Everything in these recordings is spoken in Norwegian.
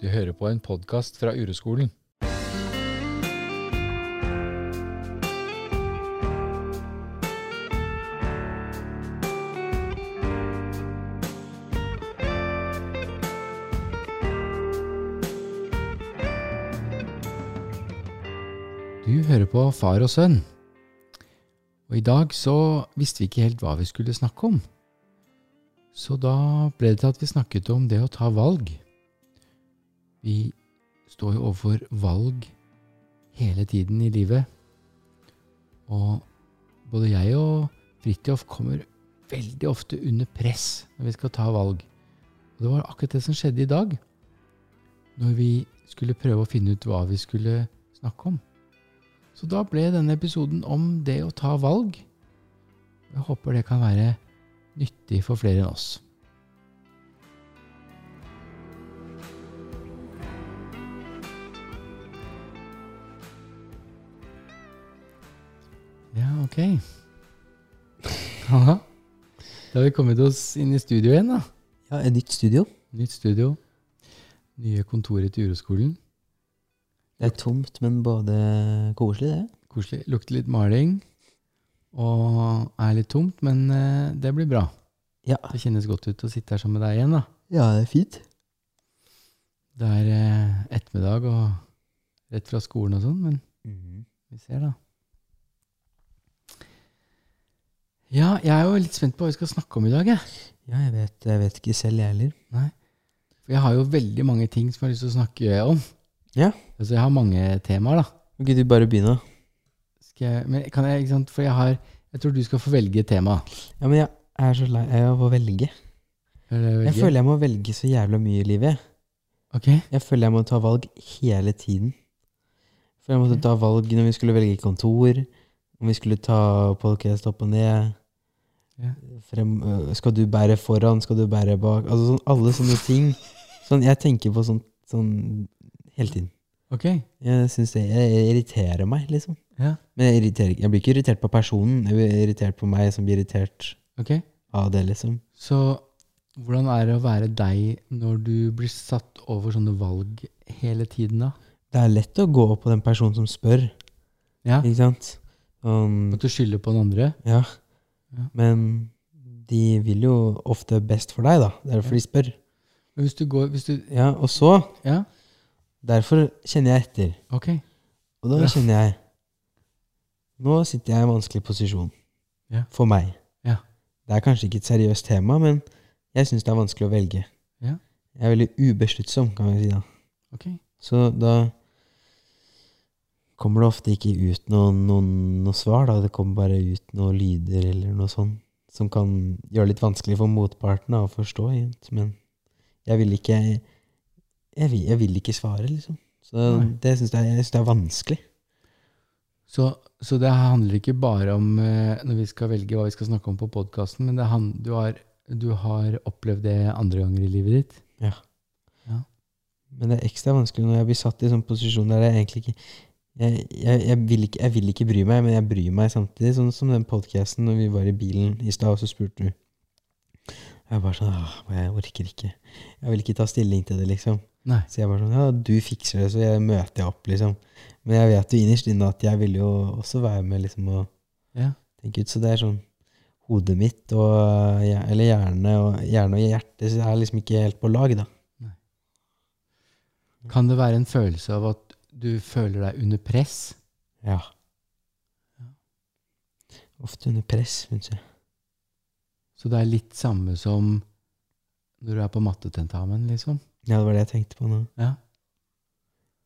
Du hører på en podkast fra Uroskolen. Du hører på Far og sønn. Og i dag så visste vi ikke helt hva vi skulle snakke om. Så da ble det til at vi snakket om det å ta valg. Vi står jo overfor valg hele tiden i livet. Og både jeg og Fridtjof kommer veldig ofte under press når vi skal ta valg. Og det var akkurat det som skjedde i dag, når vi skulle prøve å finne ut hva vi skulle snakke om. Så da ble denne episoden om det å ta valg. Jeg håper det kan være nyttig for flere enn oss. Ja, ok. Haha. Da har vi kommet oss inn i studio igjen, da. Ja, et nytt studio. Nytt studio. Nye kontoret til Uroskolen. Det er tomt, men både koselig, det. Koselig. Lukter litt maling. Og er litt tomt, men eh, det blir bra. Ja, Det kjennes godt ut å sitte her sammen med deg igjen, da. ja det er fint. Det er eh, ettermiddag og rett fra skolen og sånn, men Mhm. vi ser, da. Ja, jeg er jo litt spent på hva vi skal snakke om i dag, jeg. Ja, jeg vet, jeg vet ikke selv, jeg heller. For jeg har jo veldig mange ting som jeg har lyst til å snakke om. Ja. Altså, jeg har mange temaer, da. Kan ikke du bare begynne? Skal jeg, men kan jeg, ikke sant? For jeg har Jeg tror du skal få velge tema. Ja, men jeg er så lei av å velge. Eller Jeg velge? føler jeg må velge så jævla mye i livet. Ok. Jeg føler jeg må ta valg hele tiden. For jeg måtte ta valg når vi skulle velge kontor, om vi skulle ta podcast opp og ned. Ja. Frem, øh, skal du bære foran, skal du bære bak? Altså sånn, alle sånne ting. Sånn, jeg tenker på sånn, sånn hele tiden. Ok. Jeg synes det jeg irriterer meg, liksom. Ja. Men jeg, irriterer, ikke- jeg blir ikke irritert på personen, jeg blir irritert på meg som blir irritert Ok. av det, liksom. Så hvordan er det å være deg når du blir satt over sånne valg hele tiden, da? Det er lett å gå på den personen som spør, Ja. ikke sant? Um, At du skylder på den andre? Ja. Ja. Men de vil jo ofte best for deg, da. Det er derfor de spør. Men Hvis du går Hvis du Ja, og så Ja, Derfor kjenner jeg etter. ok. Og da Ja. kjenner jeg Nå sitter jeg i en vanskelig posisjon. Ja. For meg. Ja. Det er kanskje ikke et seriøst tema, men jeg syns det er vanskelig å velge. Ja. Jeg er veldig ubesluttsom, kan vi si da. Ok. Så da kommer det ofte ikke ut noen, noen, noe svar, da. Det kommer bare ut noen lyder eller noe sånt som kan gjøre det litt vanskelig for motparten da, å forstå. egentlig. Men jeg vil ikke jeg vil, jeg vil ikke svare, liksom. Så Nei. det syns jeg, jeg synes det er vanskelig. Så, så det handler ikke bare om eh, når vi skal velge hva vi skal snakke om på podkasten, men det han, du, har, du har opplevd det andre ganger i livet ditt? Men det er ekstra vanskelig når jeg blir satt i sånn posisjon der jeg egentlig ikke jeg, jeg, jeg, vil ikke, jeg vil ikke bry meg, men jeg bryr meg samtidig. Sånn som den podkasten når vi var i bilen i stad, og så spurte du. Jeg bare sånn Åh, men jeg orker ikke. Jeg vil ikke ta stilling til det, liksom. Nei. Så jeg bare sånn Ja, du fikser det, så jeg møter jeg opp, liksom. Men jeg vet jo innerst inne at jeg vil jo også være med, liksom, og Ja. tenke ut. Så det er sånn Hodet mitt og eh, hjer- Eller hjerne og, hjerne og hjerte så er liksom ikke helt på lag, da. Kan det være en følelse av at du føler deg under press? Ja. Ofte under press, syns jeg. Så det er litt samme som når du er på mattetentamen, liksom? Ja, det var det jeg tenkte på nå. Ja.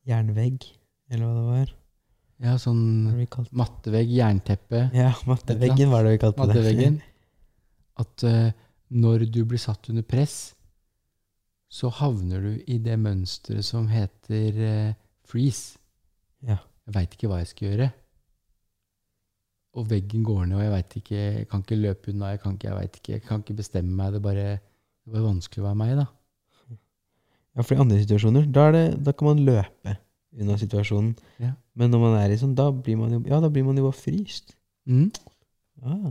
Jernvegg, eller hva det var. Ja, Hva sånn var det vi kalte det? mattevegg, jernteppe, Ja, matteveggen var det vi kalte det. matteveggen. At eh, når du blir satt under press, så havner du i det mønsteret som heter eh, freeze. Ja. Jeg veit ikke hva jeg skal gjøre. Og veggen går ned, og jeg veit ikke, jeg kan ikke løpe unna, jeg kan ikke, jeg vet ikke, jeg kan ikke bestemme meg. Det er bare, det er bare vanskelig å være meg, da. Ja, for i andre situasjoner, da, er det, da kan man løpe unna situasjonen. Ja. Men når man er i sånn, da blir man jo, ja, da blir man jo bare fryst. Mm. Ah,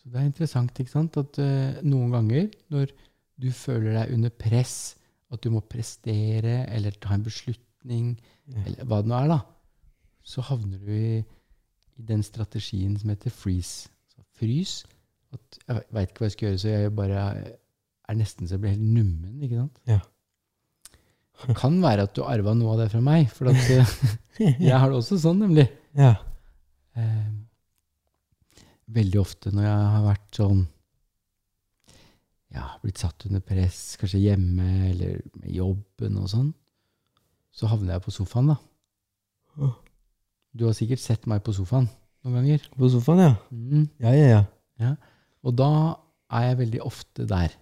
Så det er interessant, ikke sant, at eh, noen ganger når du føler deg under press at du må prestere eller ta en beslutning, eller hva det nå er, da, så havner du i, i den strategien som heter freeze. Så frys. At jeg veit ikke hva jeg skal gjøre, så jeg bare er nesten så jeg blir helt nummen. ikke sant? Ja. Det kan være at du arva noe av det fra meg, for at, eh, jeg har det også sånn, nemlig. ja. Eh, veldig ofte når jeg har vært sånn Ja, blitt satt under press, kanskje hjemme eller med jobben og sånn, så havner jeg på sofaen, da. Åh. Du har sikkert sett meg på sofaen noen ganger. På sofaen, ja. Mm. Ja, ja, ja. Og da er jeg veldig ofte der.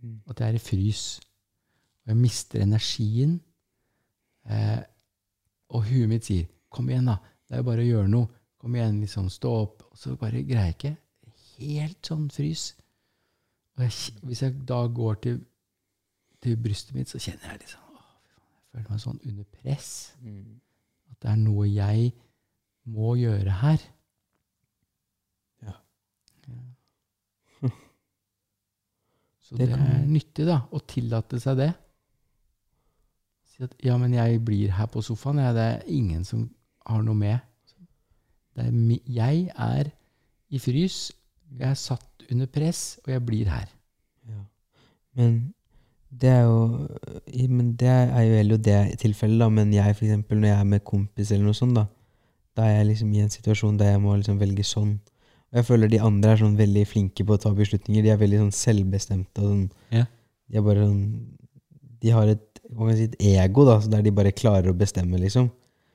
Mm. At jeg er i frys. Og jeg mister energien. Eh, og huet mitt sier 'kom igjen, da'. Det er jo bare å gjøre noe. Kom igjen, liksom. Stå opp. Og så bare greier jeg ikke. Helt sånn frys. Og jeg, kj- hvis jeg da går til, til brystet mitt, så kjenner jeg liksom Åh, fy faen, Jeg føler meg sånn under press. At det er noe jeg må gjøre her. Ja. Ja. Så Det det, kan- er nyttig, da, å tillate seg det. Si at 'ja, men jeg blir her på sofaen', jeg, det er ingen som har noe med. Det er, mi- jeg er i frys, jeg er satt under press, og jeg blir her. Ja. Men det er jo i- Men det er jo heller jo det tilfellet, da. Men jeg, for eksempel, når jeg er med kompis eller noe sånt, da, da er jeg liksom i en situasjon der jeg må liksom velge sånn. Og jeg føler de andre er sånn veldig flinke på å ta beslutninger. De er veldig sånn selvbestemte og sånn. Ja. De er bare sånn De har et, hva kan jeg si, et ego, da, så der de bare klarer å bestemme, liksom.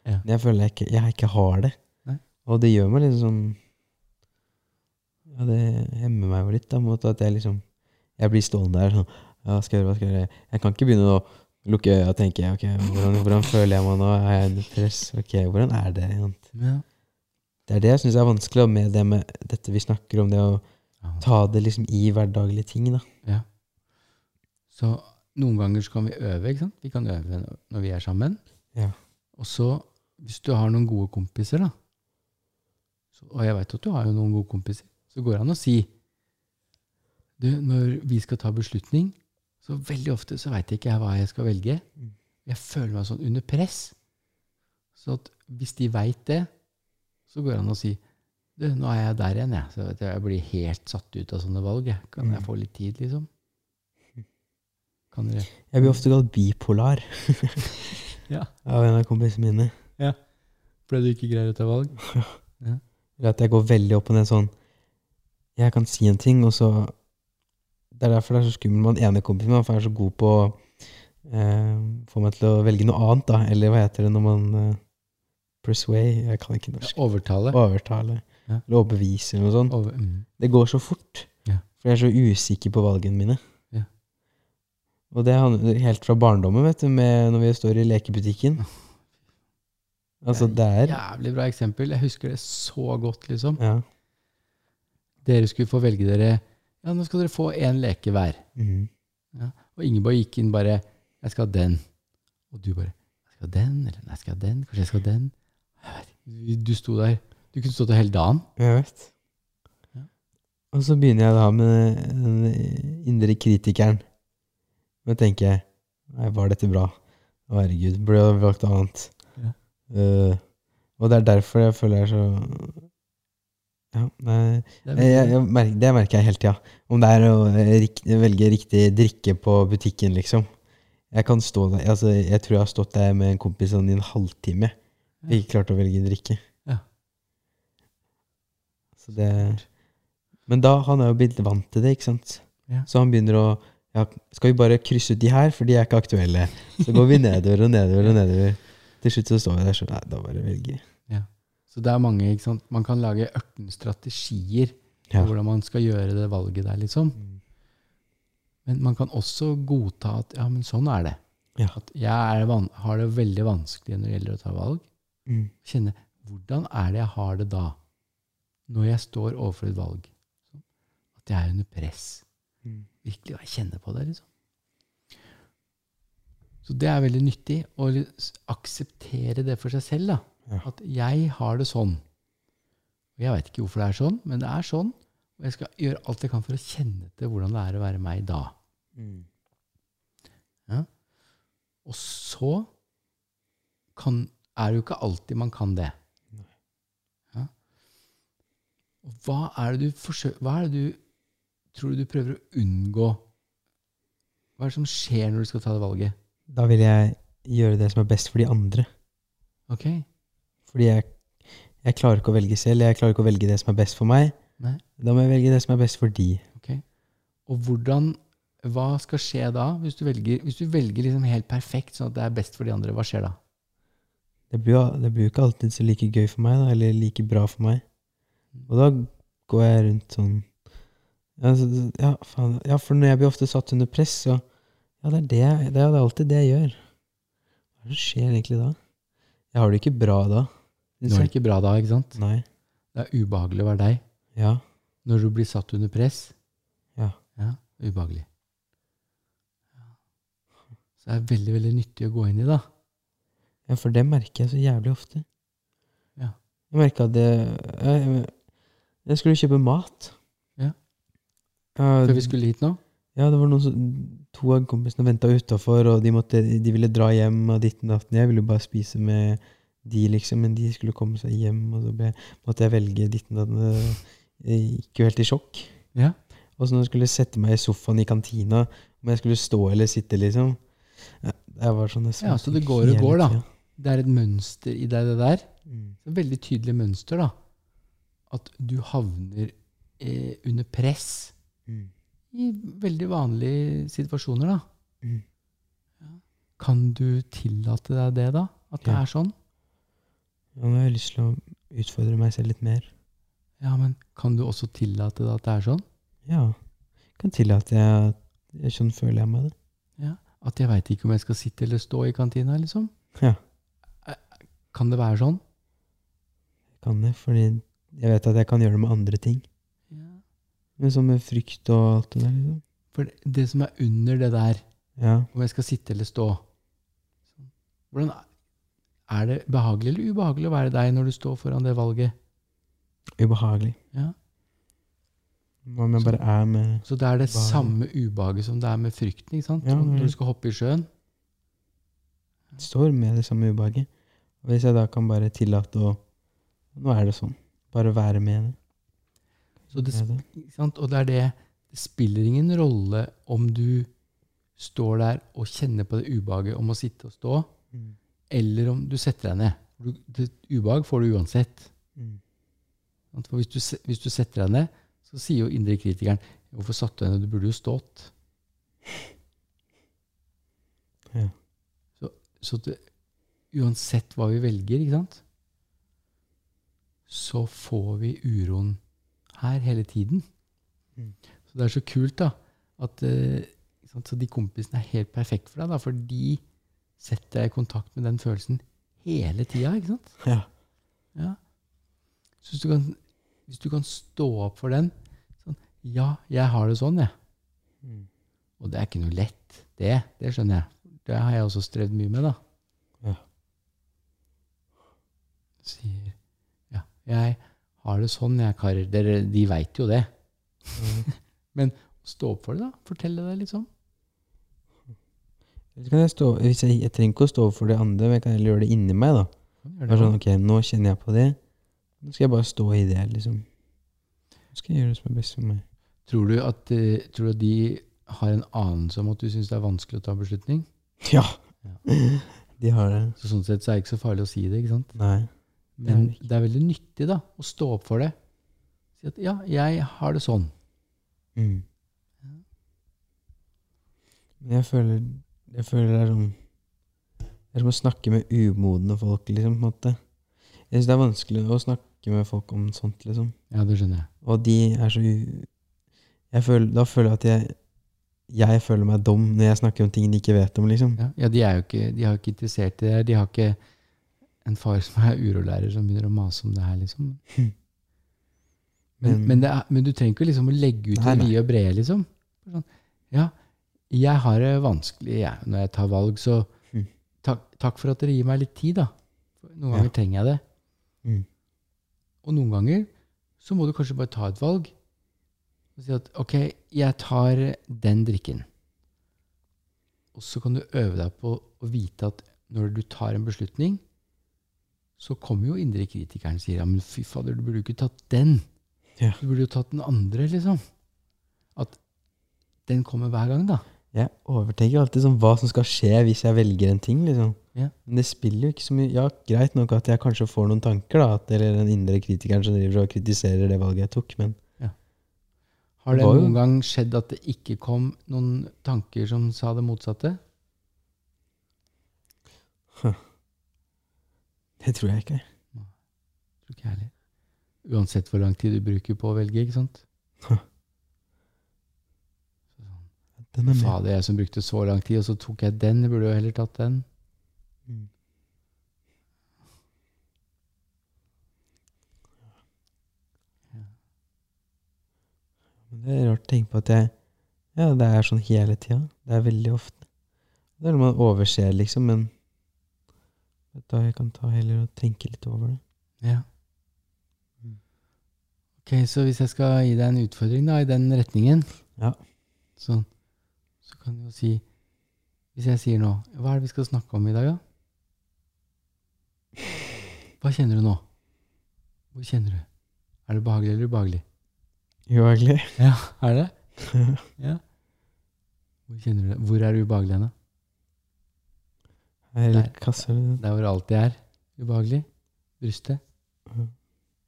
Ja. Men jeg føler jeg ikke, jeg ikke har det. Nei. Og det gjør meg liksom sånn Ja, det hemmer meg jo litt, da, mot at jeg liksom jeg blir stående der sånn ja, skal jeg, gjøre, hva skal jeg, gjøre? jeg kan ikke begynne å lukke øya og tenke ok, hvordan, hvordan føler jeg meg nå? Er jeg under press? Ok, Hvordan er det? igjen?» Ja. Det er det jeg syns er vanskelig da, med det med dette vi snakker om, det å ta det liksom i hverdagelige ting. da. Ja. Så noen ganger så kan vi øve, ikke sant? Vi kan øve når vi er sammen. Ja. Og så, hvis du har noen gode kompiser, da, så, og jeg veit at du har jo noen gode kompiser, så går det an å si du, når vi skal ta beslutning, så veldig ofte så veit ikke jeg hva jeg skal velge. Mm. Jeg føler meg sånn under press. Så at hvis de veit det, så går det an å si du, nå er jeg der igjen, jeg. Så at jeg blir helt satt ut av sånne valg. Jeg. Kan jeg Mm. få litt tid, liksom? Kan dere Jeg blir ofte kalt bipolar Ja. av en av kompisene mine. Fordi du ikke greier å ta valg? Eller at jeg går veldig opp og ned sånn Jeg kan si en ting, og så Det er derfor det er så skummelt med han ene kompisen min, for han er så god på å eh, få meg til å velge noe annet, da. Eller hva heter det når man eh, Persuade? Jeg kan ikke norsk. Overtale? Overtale. Ja. Eller overbevise, eller noe sånt. Over, mm. Det går så fort. Ja. For jeg er så usikker på valgene mine. Ja. Og det handler helt fra barndommen, vet du, med når vi står i lekebutikken. Altså, det er Jævlig bra eksempel. Jeg husker det så godt, liksom. Ja. Dere skulle få velge dere Ja, nå skal dere få én leke hver. Mhm. Og Ingeborg gikk inn bare 'Jeg skal ha den'. Og du bare 'Jeg skal ha den', eller 'Nei, jeg skal ha den', kanskje jeg skal ha den. Jeg vet ikke. Du, du sto der. Du kunne stått der hele dagen. Jeg vet. Ja. Og så begynner jeg da med den indre kritikeren. Men tenker jeg Nei, var dette bra? Å, herregud, burde jeg valgt noe annet? Ja. Eh, og det er derfor jeg føler jeg er så Ja, nei Det er jeg, Eh, jeg, jeg merker, det merker jeg hele tida. Om det er å eh, rik, velge riktig drikke på butikken, liksom. Jeg kan stå der, altså, jeg tror jeg har stått der med en kompis sånn i en halvtime. Vi ikke klarte å velge drikke. Ja. Så det, men da, han er jo blitt vant til det, ikke sant. Ja. Så han begynner å ja, Skal vi bare krysse ut de her, for de er ikke aktuelle? Så går vi nedover og nedover og nedover. Til slutt så står vi der sånn Nei, da bare velger vi. Så det er mange, ikke sant? Man kan lage ørten strategier på Ja. hvordan man skal gjøre det valget der, liksom. Mm. Men man kan også godta at ja, men sånn er det. Ja. At jeg er van har det veldig vanskelig når det gjelder å ta valg. Mm. Kjenne hvordan er det jeg har det da, når jeg står overfor et valg? liksom. At jeg er under press. Mm. Virkelig, og jeg kjenner på det, liksom. Så det er veldig nyttig å li- s- akseptere det for seg selv, da. Ja. At jeg har det sånn. Og jeg veit ikke hvorfor det er sånn, men det er sånn. Og jeg skal gjøre alt jeg kan for å kjenne til hvordan det er å være meg da. Mm. Og så kan, er det jo ikke alltid man kan det. Nei. Ja. Og hva er det du forsøker Hva er det du tror du du prøver å unngå? Hva er det som skjer når du skal ta det valget? Da vil jeg gjøre det som er best for de andre. Ok? Fordi jeg, jeg klarer ikke å velge selv. Jeg klarer ikke å velge det som er best for meg. Nei. Da må jeg velge det som er best for de. Og hvordan, hva skal skje da, hvis du velger, hvis du velger liksom helt perfekt, sånn at det er best for de andre? Hva skjer da? Det blir, jo- det blir jo ikke alltid så like gøy for meg, da, eller like bra for meg. Og da går jeg rundt sånn Ja, så- så- ja, faen, ja for når jeg blir ofte satt under press, så Ja, det er, det, jeg- det er det alltid det jeg gjør. Hva er det som skjer egentlig da? Jeg har det ikke bra da. Du har det ikke bra da, ikke sant? Nei. Det er ubehagelig å være deg. Ja. Når du blir satt under press. Ja. ubehagelig. Så det er veldig, veldig nyttig å gå inn i, da. ja, for det merker jeg så jævlig ofte. Ja. Jeg merka at det jeg, jeg skulle kjøpe mat. Ja. Ja, Før vi skulle hit nå. Ja, det var noen som, to av kompisene venta utafor, og de, måtte, de ville dra hjem og ditten og datten. Jeg ville jo bare spise med de, liksom, men de skulle komme seg hjem, og så ble, måtte jeg velge ditten og datten. Jeg gikk jo helt i sjokk. Ja. Og så når jeg skulle sette meg i sofaen i kantina, om jeg skulle stå eller sitte, liksom ja, Jeg var sånn jeg Ja, så det svette går og hele går, da. tida. Det er et mønster i deg, det der. Mm. Det er et veldig tydelig mønster, da. At du havner eh, under press Mm. i veldig vanlige situasjoner, da. Mm. Ja. Kan du tillate deg det, da? At det Ja. er sånn? Ja, nå har jeg lyst til å utfordre meg selv litt mer. Ja, men kan du også tillate deg at det er sånn? Ja. Kan tillate jeg, jeg Sånn føler jeg meg det. At jeg veit ikke om jeg skal sitte eller stå i kantina, liksom. Eh, Ja. Kan det være sånn? Kan det, fordi jeg vet at jeg kan gjøre det med andre ting. Men sånn med frykt og alt det der, liksom. For det- det som er under det der, Ja. om jeg skal sitte eller stå Hvordan er- Er det behagelig eller ubehagelig å være deg når du står foran det valget? Ubehagelig. Ja. Hva om jeg bare er med Så det er det Ubehagelig. samme ubehaget som det er med frykten, ikke sant? Ja, Som men- når du skal hoppe i sjøen. Står med det samme ubehaget. Og hvis jeg da kan bare tillate å Nå er det sånn. Bare være med det. Så det, Med det. ikke sant? Og det er det Det spiller ingen rolle om du står der og kjenner på det ubehaget om å sitte og stå. Mm. eller om du setter deg ned. Du, det, ubehag får du uansett. Mm. sant? For hvis du, se- hvis du setter deg ned, så sier jo indre kritikeren Hvorfor satt du deg ned? Du burde jo stått. Ja. Så, så det, uansett hva vi velger, ikke sant, så får vi uroen her hele tiden. Mm. Så det er så kult, da. At, eh, ikke sant? Så de kompisene er helt perfekte for deg, da, for de setter deg i kontakt med den følelsen hele tida. ikke sant? Ja. Ja. Så hvis du kan, hvis du kan stå opp for den sånn, Ja, jeg har det sånn, jeg. Mm. Og det er ikke noe lett. Det, det skjønner jeg. Det har jeg også strevd mye med, da. Ja. Sier Ja, jeg har det sånn, jeg, karer. Dere, de veit jo det. Mm. Stå opp for det, da. Fortelle det, liksom. Eller kan jeg stå hvis jeg, jeg trenger ikke å stå for det andre, men jeg kan heller gjøre det inni meg, da. Bare sånn, ok, nå kjenner jeg på det. Nå skal jeg bare stå i det, liksom. Nå skal jeg gjøre det som er best for meg. Tror du at eh, tror du at de har en anelse om at du syns det er vanskelig å ta beslutning? Ja. De har det. Så sånn sett så er det ikke så farlig å si det, ikke sant? Nei. Det er Men det det er veldig nyttig da, å stå opp for det. Si at ja, jeg har det sånn. Mm. Men jeg føler, jeg føler det er sånn Det er som å snakke med umodne folk, liksom. på en måte. Jeg syns det er vanskelig å snakke med folk om sånt, liksom. Ja, det skjønner jeg. Og de er så u... Jeg føler, da føler jeg at jeg Jeg føler meg dum når jeg snakker om ting de ikke vet om, liksom. Ja, ja de er jo ikke, de har ikke interessert i det. her. De har ikke en far som er urolærer som begynner å mase om det her, liksom. Men, Men- men, det er, men du trenger ikke liksom å legge ut Nei, det nei. vide og brede, liksom. Sånn, ja, jeg har det vanskelig jeg, når jeg tar valg, så Mm. takk, takk for at dere gir meg litt tid, da. Noen Ja. ganger trenger jeg det. Mm. Og noen ganger så må du kanskje bare ta et valg. Og si at ok, jeg tar den drikken. Og så kan du øve deg på å vite at når du tar en beslutning, så kommer jo indre kritikeren og sier ja, men fy fader, du burde jo ikke tatt den. Ja. Du burde jo tatt den andre, liksom. At den kommer hver gang, da. Jeg overtenker alltid sånn hva som skal skje hvis jeg velger en ting. liksom. Ja. Men det spiller jo ikke så mye Ja, greit nok at jeg kanskje får noen tanker, da, at, eller den indre kritikeren som driver og kritiserer det valget jeg tok, men Har det Det var jo- noen gang skjedd at det ikke kom noen tanker som sa det motsatte? det tror jeg ikke. Tror ikke jeg heller. Uansett hvor lang tid du bruker på å velge, ikke sant? Den er med. Fader, jeg som brukte så lang tid, og så tok jeg den. Jeg burde jo heller tatt den. Mm. Men Det er rart å tenke på at jeg Ja, det er sånn hele tida. Det er veldig ofte. Det er noe man overser, liksom, men da jeg kan ta heller og tenke litt over det. Ja. Mm. Ok, så hvis jeg skal gi deg en utfordring da, i den retningen, Ja. så, så kan du jo si, hvis jeg sier nå, hva er det vi skal snakke om i dag da? Hva kjenner du nå? Hvor kjenner du? Er det behagelig eller ubehagelig? Ubehagelig. Ja, er det? ja. Hvor kjenner du det? Hvor er det ubehagelig henne? Eller Der. kassa eller Der hvor det alltid er ubehagelig? Brystet? Mhm.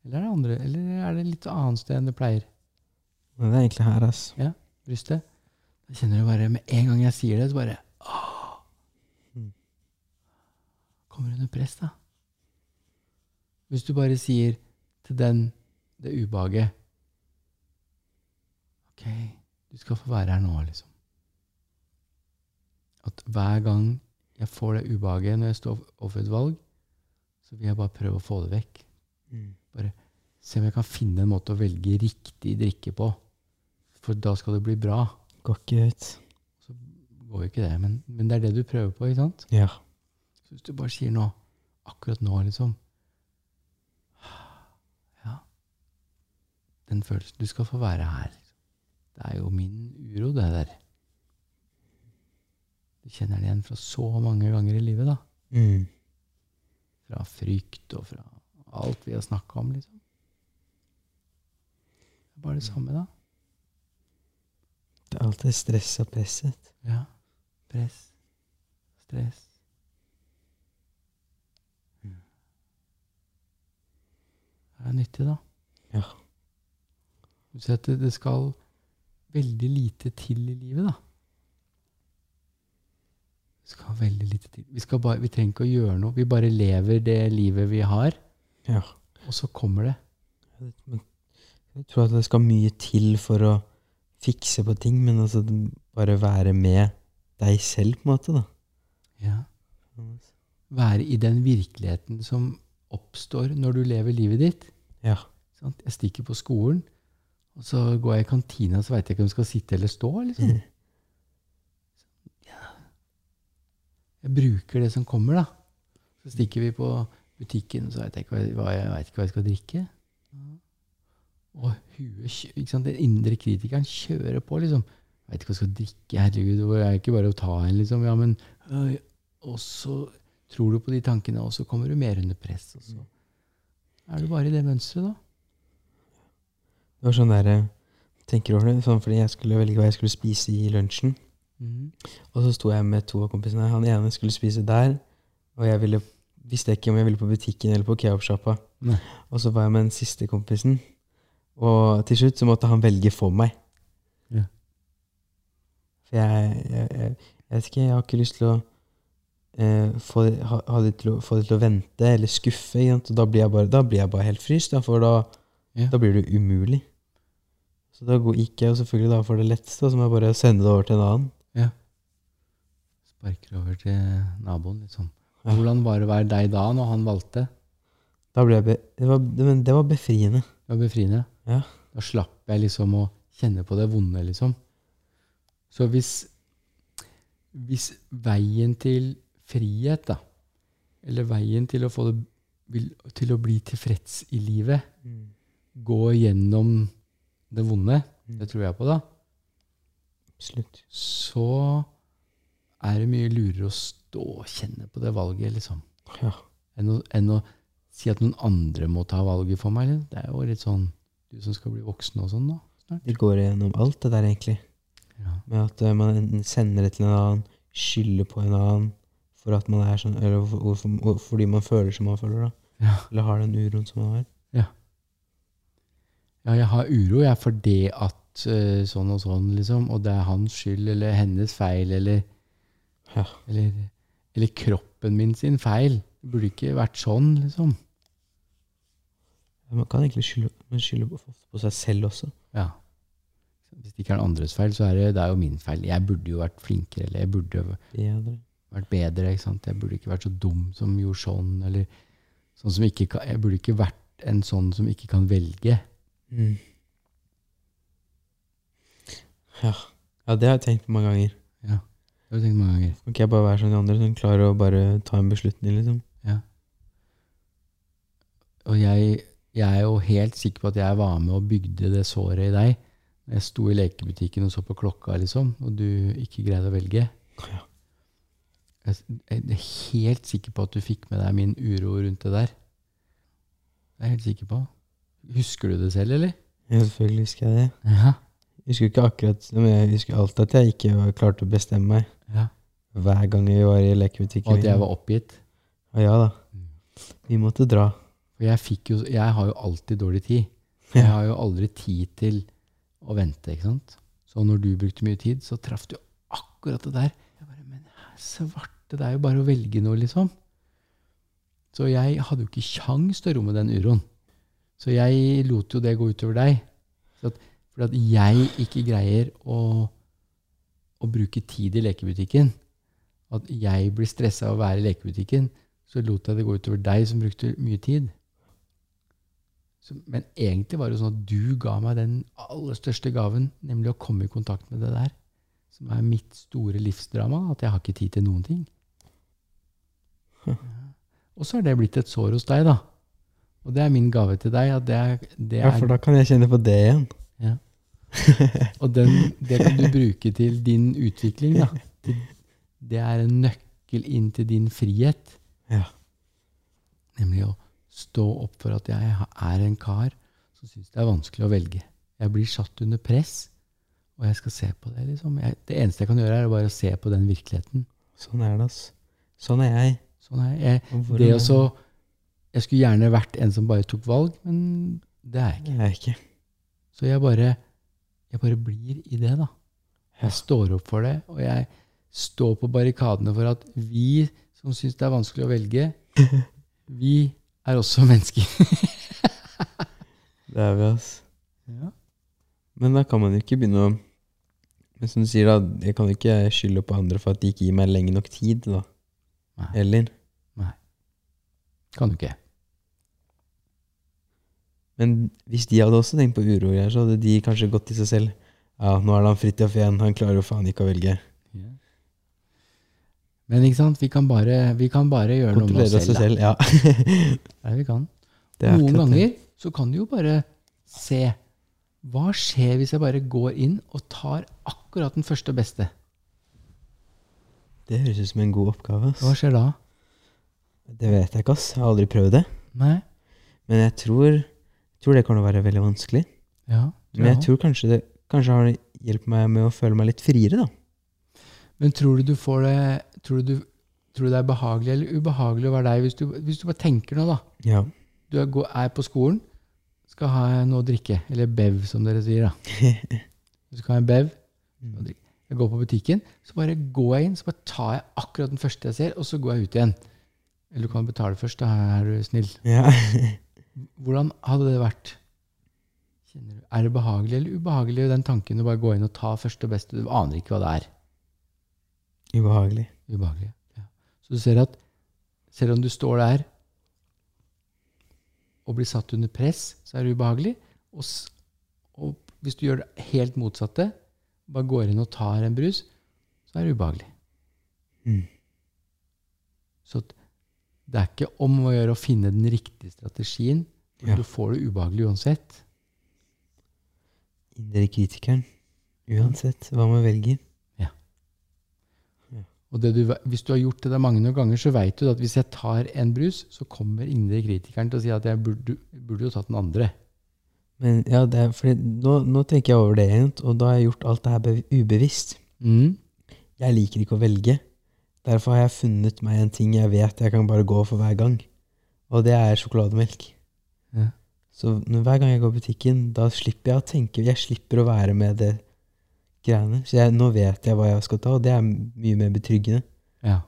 Eller er det andre? Eller er det litt annet sted enn det pleier? Nei, det er egentlig her, ass. brystet. Da kjenner du bare med en gang jeg sier det, så bare «Åh!» Mm. Kommer under press, da. Hvis du bare sier til den det ubehaget Ok, du skal få være her nå, liksom. At hver gang jeg får det ubehaget når jeg står overfor et valg, så vil jeg bare prøve å få det vekk. Mm. Se om jeg kan finne en måte å velge riktig drikke på. For da skal det bli bra. Går ikke ut. Så går jo ikke det, men, men det er det du prøver på, ikke sant? Ja. Så hvis du bare sier nå, akkurat nå, liksom Ja. Den følelsen Du skal få være her. liksom. Det er jo min uro, det der. Du kjenner det igjen fra så mange ganger i livet, da. Mm. Fra frykt og fra alt vi har snakka om, liksom. Det er bare det samme, da. Det er alltid stress og presset. Ja. Press. Stress. Mm. Det er nyttig, da. Ja. Du ser at det, det skal veldig lite til i livet, da. Det skal veldig lite til. Vi, skal bare, vi trenger ikke å gjøre noe. Vi bare lever det livet vi har, Ja. og så kommer det. Men jeg tror at det skal mye til for å fikse på ting, men altså det- bare være med deg selv, på en måte, da. Ja. Være i den virkeligheten som oppstår når du lever livet ditt. Ja. Sant? Jeg stikker på skolen, og så går jeg i kantina, så veit jeg ikke om jeg skal sitte eller stå. Liksom. Mm. Ja. Jeg bruker det som kommer, da. Så stikker vi på butikken, og så veit jeg, ikke hva jeg, hva jeg, vet ikke hva jeg skal drikke. Og huet kjø- ikke sant? Den indre kritikeren kjører på, liksom. Jeg veit ikke hva jeg skal drikke, herregud, det er ikke bare å ta en, liksom. Ja, men øh, Og så tror du på de tankene, og så kommer du mer under press. Og så er du bare i det mønsteret, da. Det var sånn derre Tenker over det, sånn fordi jeg skulle velge hva jeg skulle spise i lunsjen. Mhm. Og så sto jeg med to av kompisene. Han ene skulle spise der, og jeg ville, visste ikke om jeg ville på butikken eller på kebabsjappa. Nei. Og så var jeg med den siste kompisen, og til slutt så måtte han velge for meg. Ja. For jeg, jeg, jeg, jeg vet ikke, jeg har ikke lyst til å eh, få, ha, ha det til å få det til å vente eller skuffe. Ikke sant? Og da blir, jeg bare, da blir jeg bare helt fryst, da, for da, Ja. da blir det umulig. Så da går- gikk jeg jo selvfølgelig da for det letteste, og så må jeg bare sende det over til en annen. Sparker over til naboen, liksom. Ja. Hvordan var det å være deg da, når han valgte? Da ble jeg be det, var, det, men det var befriende. Det var befriende. Ja. Da slapp jeg liksom å kjenne på det vonde, liksom. Så hvis, hvis veien til frihet, da, eller veien til å, få det, vil- til å bli tilfreds i livet, går gjennom det vonde, det tror jeg på, da, Absolutt. så er det mye lurere å stå og kjenne på det valget, liksom. Ja. Enn å, enn å si at noen andre må ta valget for meg. Liksom. Det er jo litt sånn du som skal bli voksen og sånn, da. Det går gjennom alt det der, egentlig. Ja. Med at eh, man enten sender det til en annen, skylder på en annen for at man er sånn, eller hvor- hvorfor- hvor- fordi man føler som man føler, da. Ja. Eller har den uroen som man har. Ja, jeg har uro, jeg, for det at eh, sånn og sånn, liksom. Og det er hans skyld, eller hennes feil, eller Ja. Eller, eller kroppen min sin feil. Det burde ikke vært sånn, liksom. Man kan egentlig skylde, man skylder ofte på seg selv også. Ja. Hvis det ikke er den andres feil, så er det, det er jo min feil. Jeg burde jo vært flinkere, eller jeg burde Bedre. vært bedre. ikke sant? Jeg burde ikke vært så dum som gjorde sånn, eller sånn som ikke kan, Jeg burde ikke vært en sånn som ikke kan velge. Mm. Ja. ja, det har jeg tenkt på mange ganger. Det har jeg tenkt mange ganger. Kan ikke jeg bare være som de andre, sånn klar å bare ta en beslutning, liksom? Og jeg, jeg er jo helt sikker på at jeg var med og bygde det såret i deg. Jeg sto i lekebutikken og så på klokka, liksom, og du ikke greide å velge. Ja. Jeg, jeg er helt sikker på at du fikk med deg min uro rundt det der. Det er jeg helt sikker på. Husker du det selv, eller? Ja, selvfølgelig husker jeg det. Ja. Jeg husker ikke akkurat, men jeg husker alltid at jeg ikke var- klarte å bestemme meg. Hver gang vi var i lekebutikken. Og at jeg var Mm. oppgitt. Ja, ja da. Vi måtte dra. For jeg, fikk jo, jeg har jo alltid dårlig tid. Jeg har jo aldri tid til å vente, ikke sant? Så når du brukte mye tid, så traff du akkurat det der. Jeg bare, men svarte, det er jo bare å velge noe, liksom. Så jeg hadde jo ikke sjans til å romme den uroen. Så jeg lot jo det gå utover deg. Så at, for at jeg ikke greier å, å bruke tid i lekebutikken, at jeg blir stressa av å være i lekebutikken, så lot jeg det gå utover deg som brukte mye tid. Så, men egentlig var det jo sånn at du ga meg den aller største gaven, nemlig å komme i kontakt med det der, som er mitt store livsdrama, at jeg har ikke tid til noen ting. Hm. Og så er det blitt et sår hos deg, da. Og det er min gave til deg, at det er, det Ja, er for da kan jeg kjenne på det igjen. Og den, det kan du bruke til din utvikling. Da. Til- Det er en nøkkel inn til din frihet. Ja. Nemlig å stå opp for at jeg ha- er en kar som syns det er vanskelig å velge. Jeg blir satt under press, og jeg skal se på det. liksom. Jeg, det eneste jeg kan gjøre, er å bare se på den virkeligheten. Sånn er det, ass. Sånn er jeg. Sånn er jeg. Og hvordan Det er også, jeg skulle gjerne vært en som bare tok valg, men det er jeg ikke. Det er jeg ikke. Så jeg bare, jeg bare blir i det, da. Ja. Jeg står opp for det, og jeg står på barrikadene for at vi som syns det er vanskelig å velge, vi er også mennesker. Det er vi, ass. Men da kan man jo ikke begynne å Men som du sier, da, jeg kan jo ikke skylde på andre for at de ikke gir meg lenge nok tid, da. Nei. Eller? Kan du ikke? Men hvis de hadde også tenkt på uro, og greier, så hadde de kanskje gått til seg selv. Ja, nå er det han Fridtjof igjen, han klarer jo faen ikke å velge. Men ikke sant, vi kan bare, vi kan bare gjøre noe med Kontrollere oss seg selv. selv, ja. Da. Det er det vi kan. Det er Noen akkurat det. ganger så kan du jo bare se. Hva skjer hvis jeg bare går inn og tar akkurat den første beste? Det høres ut som en god oppgave, Hva ass. skjer da? Det vet jeg ikke, ass. Jeg har aldri prøvd det. Nei? Men jeg tror, tror det kommer til å være veldig vanskelig. Ja. Men jeg tror kanskje det kanskje har det hjulpet meg med å føle meg litt friere, da. Men tror du du får det Tror du, du, tror du det er behagelig eller ubehagelig å være deg hvis du, hvis du bare tenker nå, da? Ja. Du er, gå- er på skolen, skal ha noe å drikke. Eller bev, som dere sier. da. Du skal ha en bev. og drikke. Jeg går på butikken, så bare går jeg inn, så bare tar jeg akkurat den første jeg ser, og så går jeg ut igjen. Eller du kan betale først, da er du snill. ja. Hvordan hadde det vært? Kjenner du, er det behagelig eller ubehagelig, den tanken å bare gå inn og ta første og beste? Du aner ikke hva det er. Ubehagelig. Ubehagelige. Ja. Så du ser at selv om du står der og blir satt under press, så er det ubehagelig. Og, s- og hvis du gjør det helt motsatte, bare går inn og tar en brus, så er det ubehagelig. Mm. Så at det er ikke om å gjøre å finne den riktige strategien. men Ja. Du får det ubehagelig uansett. Indre kritikeren. Uansett hva man velger. Og det du, ve- hvis du har gjort det der mange noen ganger, så veit du at hvis jeg tar en brus, så kommer indre kritikeren til å si at jeg burde, burde jo tatt den andre. Men ja, det er fordi nå, nå tenker jeg over det igjen, og da har jeg gjort alt det her be- ubevisst. Mm. Jeg liker ikke å velge. Derfor har jeg funnet meg en ting jeg vet jeg kan bare gå for hver gang. Og det er sjokolademelk. Ja. Så når, hver gang jeg går i butikken, da slipper jeg å tenke. Jeg slipper å være med det greiene. Så jeg, nå vet jeg hva jeg skal ta, og det er mye mer betryggende. Ja.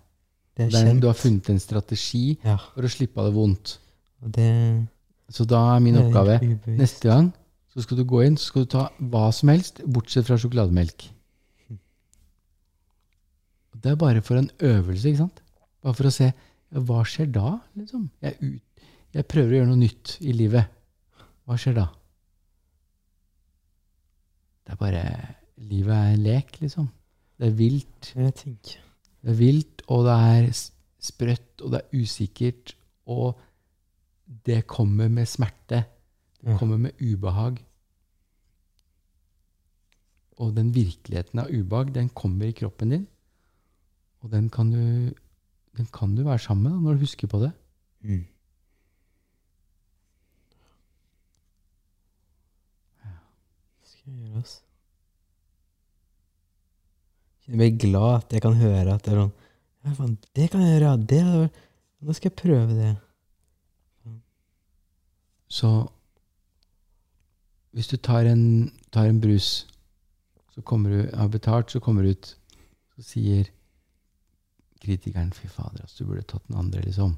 Det er Det er, kjent. du har funnet en strategi Ja, for å slippe av det vondt. og det Så da er min det er oppgave ubevisst. neste gang så skal du gå inn så skal du ta hva som helst, bortsett fra sjokolademelk. Og Det er bare for en øvelse, ikke sant? Bare for å se ja, hva skjer da, liksom. Jeg, er ut, jeg prøver å gjøre noe nytt i livet. Hva skjer da? Det er bare Livet er en lek, liksom. Det er vilt. Jeg tenker. Det er vilt, og det er s- sprøtt, og det er usikkert, og det kommer med smerte. Det Ja. kommer med ubehag. Og den virkeligheten av ubehag, den kommer i kroppen din, og den kan du, den kan du være sammen med da, når du husker på det. Mm. Det skal jeg gjøre, altså. Jeg blir glad at jeg kan høre at det er sånn ja, faen, Det kan jeg gjøre, ja. Det hadde vært Nå skal jeg prøve det. Så hvis du tar en, tar en brus, så kommer du, har betalt, så kommer du ut, så sier kritikeren 'fy fader, ass, du burde tatt den andre', liksom.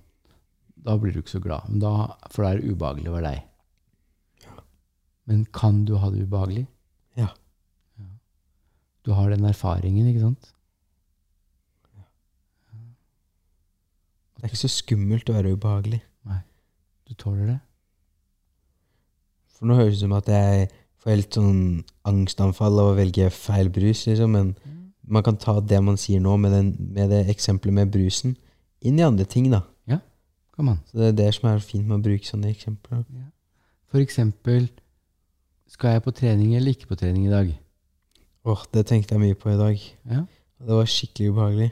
Da blir du ikke så glad, men da, for da er det ubehagelig over deg. Men kan du ha det ubehagelig? Ja. Ja. Du har den erfaringen, ikke sant? Det er ikke så skummelt å være ubehagelig. Du tåler det? For nå høres det ut som at jeg får helt sånn angstanfall av å velge feil brus, liksom. Men man kan ta det man sier nå, med, den, med det eksempelet med brusen, inn i andre ting, da. Kan man. Så det er det som er fint med å bruke sånne eksempler. For eksempel, skal jeg på trening eller ikke på trening i dag? Åh, det tenkte jeg mye på i dag. Ja. Og det var skikkelig ubehagelig.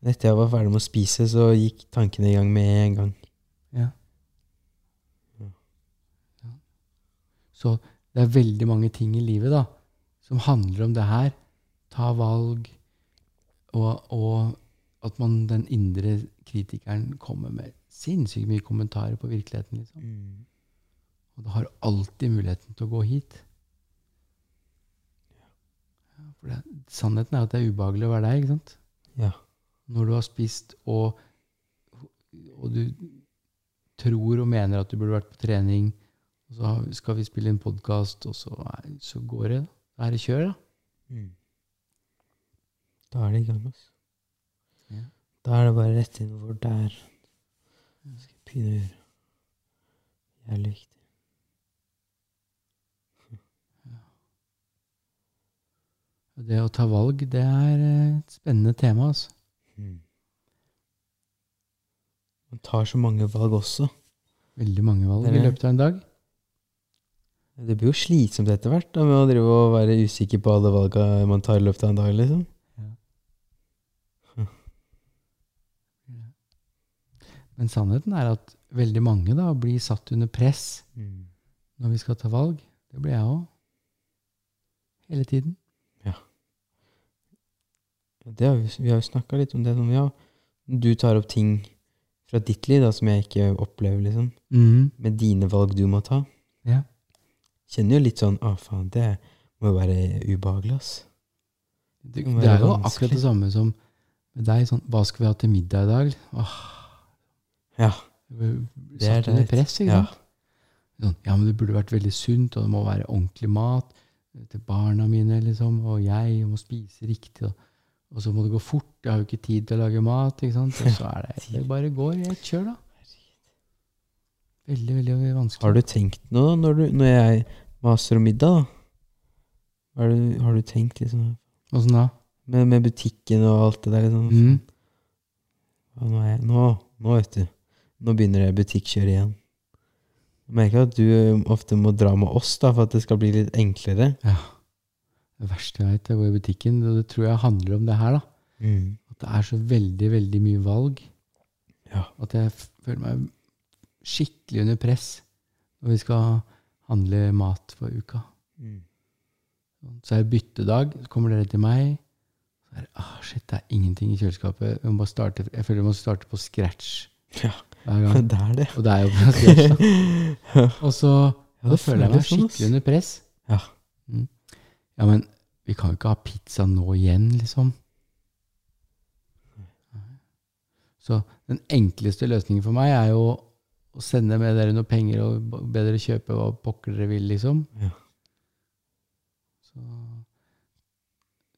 Men Etter jeg var ferdig med å spise, så gikk tankene i gang med en gang. Ja. Ja. Ja. Så det er veldig mange ting i livet da, som handler om det her. Ta valg, og, og at man, den indre kritikeren kommer med sinnssykt mye kommentarer på virkeligheten. Liksom. Og du har alltid muligheten til å gå hit. Ja, for det, sannheten er at det er ubehagelig å være deg, ikke sant? Ja. Når du har spist og, og du tror og mener at du burde vært på trening, og så har- skal vi spille en podkast, og så, er- så går det. Da er det kjør, da. Da er det i gang, altså. Ja. Da er det bare rett inn hvor det er. Nå skal jeg begynne å gjøre. Jævlig viktig. Og Det å ta valg, det er eh, et spennende tema, altså. Man tar så mange valg også. Veldig mange valg Det i er det. løpet av en dag. Det blir jo slitsomt etter hvert da, med å drive og være usikker på alle valga man tar i løpet av en dag, liksom. Men sannheten er at veldig mange da blir satt under press når vi skal ta valg. Det blir jeg òg. Hele tiden. Ja, Det har vi, vi har jo snakka litt om det. Sånn, ja, du tar opp ting fra ditt liv da, som jeg ikke opplever, liksom. Mm-hmm. Med dine valg du må ta. Ja. Kjenner jo litt sånn Å, faen, det må jo være ubehagelig, ass. Det, kan det være er jo vanskelig. akkurat det samme som med deg. Sånn, hva skal vi ha til middag i dag? Åh, Ja. du blir Det er satt under det. press, ikke Ja. sant? Sånn, ja, men det burde vært veldig sunt, og det må være ordentlig mat eh, til barna mine, liksom, og jeg jeg må spise riktig, og, og så må det gå fort, jeg har jo ikke tid til å lage mat, ikke sant? Og så er det, det bare går i et kjør, da. Veldig, veldig vanskelig. Har du tenkt noe da, når, du, når jeg maser om middag, da? Har du, har du tenkt liksom Åssen da? med, med butikken og alt det der, liksom? Mm. Ja, nå, er jeg, nå, nå vet du. Nå begynner det butikkjøret igjen. Jeg merker at du eh, ofte må dra med oss da, for at det skal bli litt enklere. Mm. Det verste jeg vet, er å gå i butikken, og det tror jeg handler om det her, da. Det er så veldig, veldig mye valg Ja. at jeg f- føler meg skikkelig under press når vi skal handle mat for uka. Mm. Så er det byttedag, så kommer dere til meg. Så er det, ah, shit, det er ingenting i kjøleskapet. Jeg, må bare starte, jeg føler jeg må starte på scratch Ja, hver gang. det er det. Og det er jo fra scratch. da. Og så Ja, da det føler jeg meg føles sånn, ass. skikkelig under press. Ja. Mm. Ja, men vi kan jo ikke ha pizza nå igjen, liksom. Så den enkleste løsningen for meg er jo å sende med dere noen penger og b- be dere kjøpe hva pokker dere vil, liksom. Ja. Så,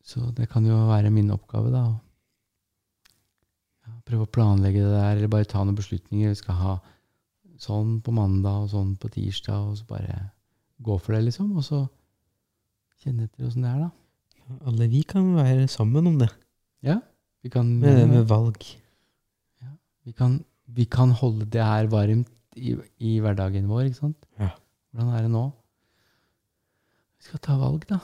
så det kan jo være min oppgave, da. å ja, prøve å planlegge det der, eller bare ta noen beslutninger. Vi skal ha sånn på mandag og sånn på tirsdag, og så bare gå for det, liksom. Og så kjenne etter åssen det er, da. Alle vi kan være sammen om det, Vi kan, med det med valg. vi kan, vi kan holde det her varmt i, i hverdagen vår, ikke sant? Ja. Hvordan er det nå? Vi skal ta valg, da.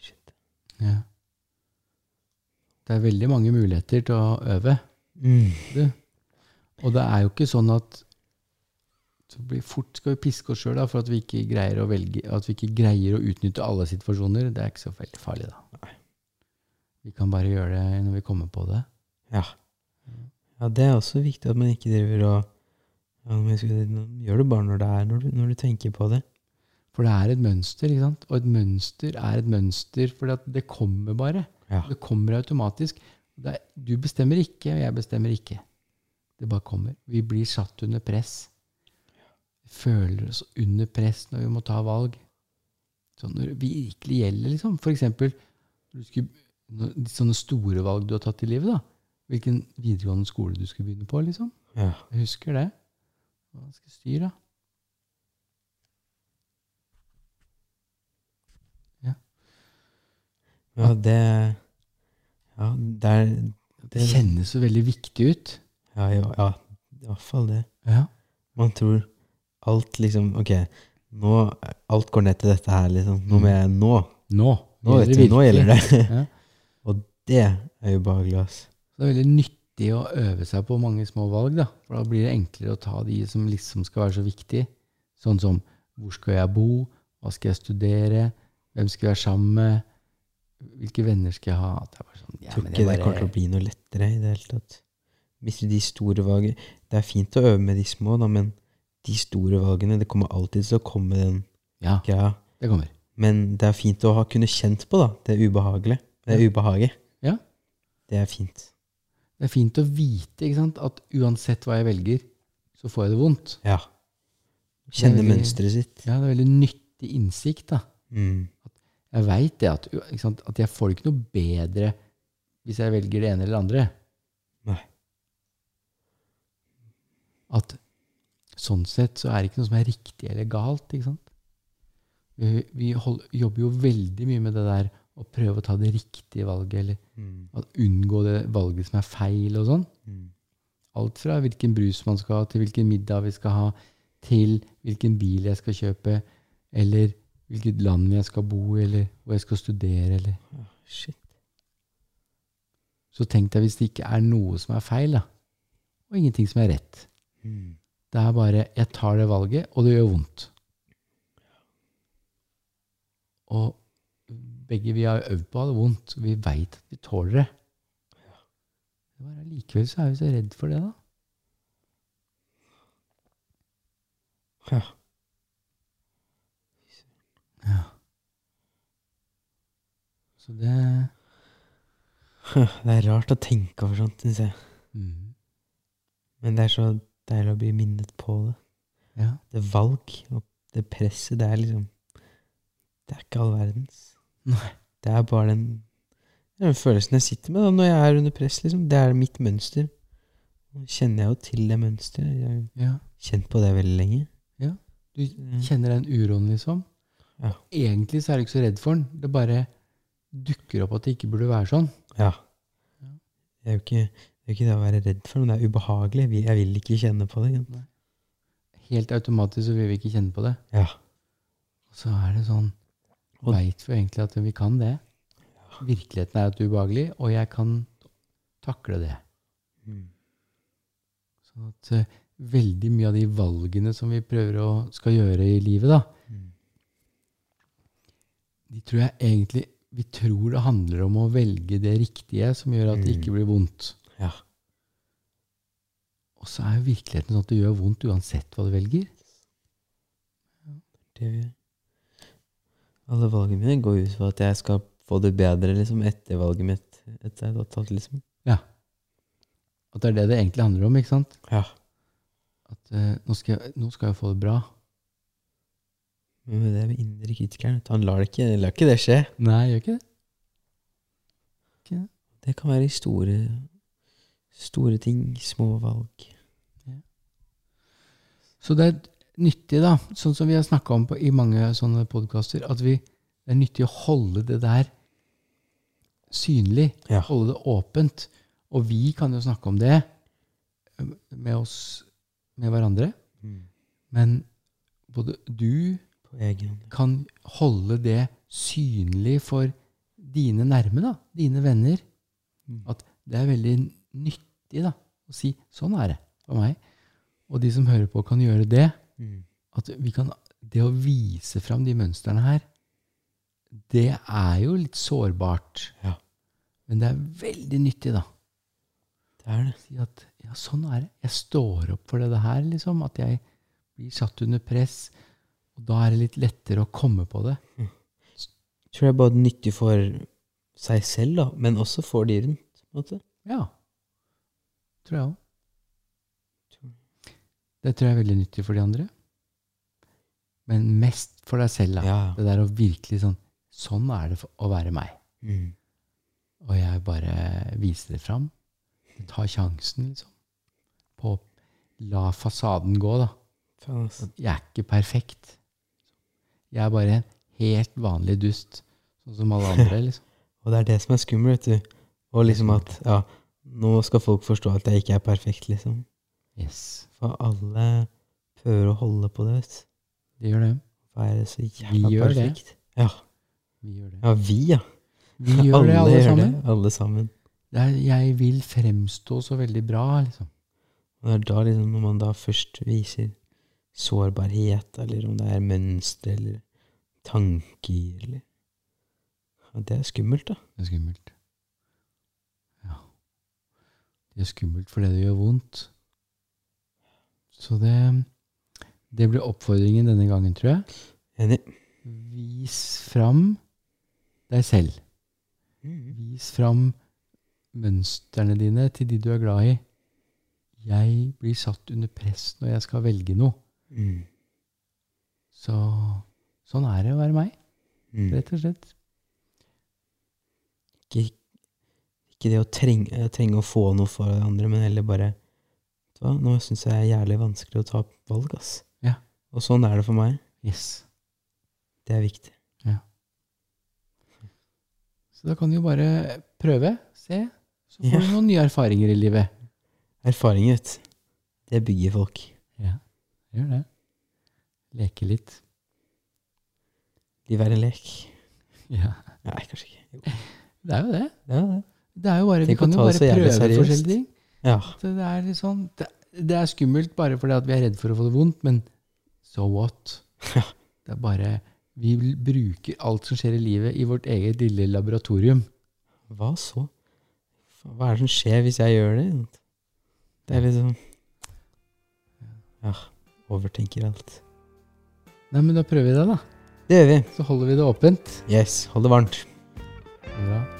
Shit. Ja. Det er veldig mange muligheter til å øve. Mm. Og det er jo ikke sånn at så blir fort skal vi piske oss sjøl for at vi ikke greier å velge, at vi ikke greier å utnytte alle situasjoner. Det er ikke så veldig farlig, da. Vi kan bare gjøre det når vi kommer på det. Ja. ja, det er også viktig at man ikke driver og ja, men jeg skulle si, nå Gjør det bare når det er, når du, når du tenker på det. For det er et mønster, ikke sant? og et mønster er et mønster fordi at det kommer bare. Ja. Det kommer automatisk. Det er, du bestemmer ikke, og jeg bestemmer ikke. Det bare kommer. Vi blir satt under press. Vi føler oss under press når vi må ta valg. Sånn når det virkelig gjelder, liksom. For eksempel når du skulle, når, de sånne store valg du har tatt i livet. da. Hvilken videregående skole du skulle begynne på. liksom. Ja. Jeg husker det. Hva skal jeg styre, da? Ja, det Ja, det er Det det, kjennes så veldig viktig ut. ja, ja, ja, i hvert fall det. Ja. Man tror alt liksom Ok, nå Alt går ned til dette her, liksom. Nå må jeg Nå! Nå. Nå, vet du, nå virkelig. gjelder det. Ja. Og det er ubehagelig, ass. Så det er veldig nyttig å øve seg på mange små valg, da. For da blir det enklere å ta de som liksom skal være så viktige. Sånn som hvor skal jeg bo, hva skal jeg studere, hvem skal jeg være sammen med, hvilke venner skal jeg ha. At det er bare sånn, ja, Tror men ikke jeg det kommer til å bare, bli noe lettere i det hele tatt. Hvis du de store valgene Det er fint å øve med de små, da, men de store valgene Det kommer alltid til å komme den ja, greia. det kommer. Men det er fint å ha kunne kjent på, da. Det er ubehagelig. Det er ubehaget. Ja. Det er fint. Det er fint å vite ikke sant, at uansett hva jeg velger, så får jeg det vondt. Ja. Kjenne Veldig- mønsteret sitt. Ja, det er veldig nyttig innsikt, da. Mm. Jeg veit det, at, ikke sant, at jeg får det ikke noe bedre hvis jeg velger det ene eller det andre. Nei. At sånn sett så er det ikke noe som er riktig eller galt, ikke sant? Vi, vi hold, jobber jo veldig mye med det der å prøve å ta det riktige valget, eller Mm. at unngå det valget som er feil og sånn. Mm. Alt fra hvilken brus man skal ha, til hvilken middag vi skal ha, til hvilken bil jeg skal kjøpe, eller hvilket land jeg skal bo i, eller hvor jeg skal studere. Eller. Ja, Ah, Shit. Så tenk deg hvis det ikke er noe som er feil, da, og ingenting som er rett. Mm. Det er bare jeg tar det valget, og det gjør vondt. Og begge vi har øvd på å ha det vondt, så vi veit at vi tåler det. Men Allikevel så er vi så redd for det, da. Ja. Så det Det er rart å tenke over sånt, syns jeg. mm, Men det er så deilig å bli minnet på det. Ja. det valg og det presset, det er liksom Det er ikke all verdens. Nei. Det er bare den, det er den følelsen jeg sitter med da, når jeg er under press. liksom. Det er mitt mønster. Nå kjenner jeg jo til det mønsteret. Jeg har jo ja. kjent på det veldig lenge. Du Mm. kjenner den uroen, liksom. Ja. Egentlig så er du ikke så redd for den. Det bare dukker opp at det ikke burde være sånn. Ja. Det er jo ikke det, er jo ikke det å være redd for, men det er ubehagelig. Vi- Jeg vil ikke kjenne på det. ikke sant? Helt automatisk så vil vi ikke kjenne på det. Ja. Og så er det sånn Og- veit jo egentlig at vi kan det. Virkeligheten er at det er ubehagelig, og jeg kan takle det. Mm. Sånn at eh, veldig mye av de valgene som vi prøver å skal gjøre i livet, da, Mm. de tror jeg egentlig Vi tror det handler om å velge det riktige som gjør at det Mm. ikke blir vondt. Ja. Og så er jo virkeligheten sånn at det gjør vondt uansett hva du velger. Det vi Alle valgene mine går ut på at jeg skal få det bedre liksom, etter valget mitt. Etter jeg har tatt, liksom. At det er det det egentlig handler om. ikke sant? Ja. At eh, nå, skal jeg, nå skal jeg få det bra. Men det er med indre kritikeren. vet du, Han lar det ikke, lar ikke det skje. Nei, gjør ikke det. Det kan være i store, store ting. Små valg. Så det er nyttig, da, sånn som vi har snakka om på, i mange sånne podkaster, at vi, det er nyttig å holde det der synlig. Ja. Holde det åpent. Og vi kan jo snakke om det eh, med oss, med hverandre. Mm. Men både du På egen hånd. kan holde det synlig for dine nærme, da, dine venner. Mm. At det er veldig nyttig da, å si 'sånn er det' for meg. Og de som hører på, kan gjøre det. Mm. At vi kan, det å vise fram de mønstrene her, det er jo litt sårbart. Ja. Men det er veldig nyttig, da. Det er det. Si at ja, sånn er det. Jeg står opp for det her, liksom. At jeg blir satt under press. Og da er det litt lettere å komme på det. tror jeg både nyttig for seg selv, da, men også for de rundt. på en måte. Ja. Tror jeg òg. Tror- Det tror jeg er veldig nyttig for de andre. Men mest for deg selv. da. Ja. Det der å virkelig sånn Sånn er det for- å være meg. Mm. Og jeg bare viser det fram. Ta sjansen, liksom. På å la fasaden gå, da. Faen, ass. Jeg er ikke perfekt. Jeg er bare en helt vanlig dust. Sånn som alle andre, liksom. Og det er det som er skummelt, vet du. Og liksom at ja, nå skal folk forstå at jeg ikke er perfekt, liksom. Yes. For alle prøver å holde på det, vet du. Det gjør det. Være så jævla gjør det. perfekt. Ja. Vi gjør det. ja, vi, ja. Vi gjør det, alle gjør sammen. Det, alle sammen. Det er, jeg vil fremstå så veldig bra, liksom. Og det er da liksom, når man da først viser sårbarhet, eller om det er mønstre, eller tanker, eller ja, Det er skummelt, da. Det er skummelt. Ja. Det er skummelt fordi det gjør vondt. Så det, det blir oppfordringen denne gangen, tror jeg. Enig. Vis fram deg selv. Mm, Vis fram mønstrene dine til de du er glad i. Jeg blir satt under press når jeg skal velge noe. Mm. Så sånn er det å være meg, Mm. rett og slett. Ikke, ikke det å trenge, eh, trenge å få noe for det andre, men heller bare vet du hva? Nå syns jeg det er jævlig vanskelig å ta valg, ass. Ja. Og sånn er det for meg. Yes. Det er viktig. Så da kan du jo bare prøve, se. Så får Ja. du noen nye erfaringer i livet. Erfaring, vet du. Det bygger folk. Ja, gjør det. Leke litt. Liv er en lek. Ja, Nei, kanskje ikke. Jo, det er jo det. det er det. Det er jo bare, vi Tenk å kan jo ta det bare så jævlig prøve seriøst. forskjellige ting. Ja. Så det er litt sånn, det, det er skummelt bare fordi at vi er redd for å få det vondt, men so what? Ja. Det er bare, vi vil- bruker alt som skjer i livet i vårt eget lille laboratorium. Hva så? Faen, Hva er det som skjer hvis jeg gjør det? Det er liksom Ja. Overtenker alt. Nei, men da prøver vi det da. Det gjør vi. Så holder vi det åpent. Yes. Hold det varmt. Bra.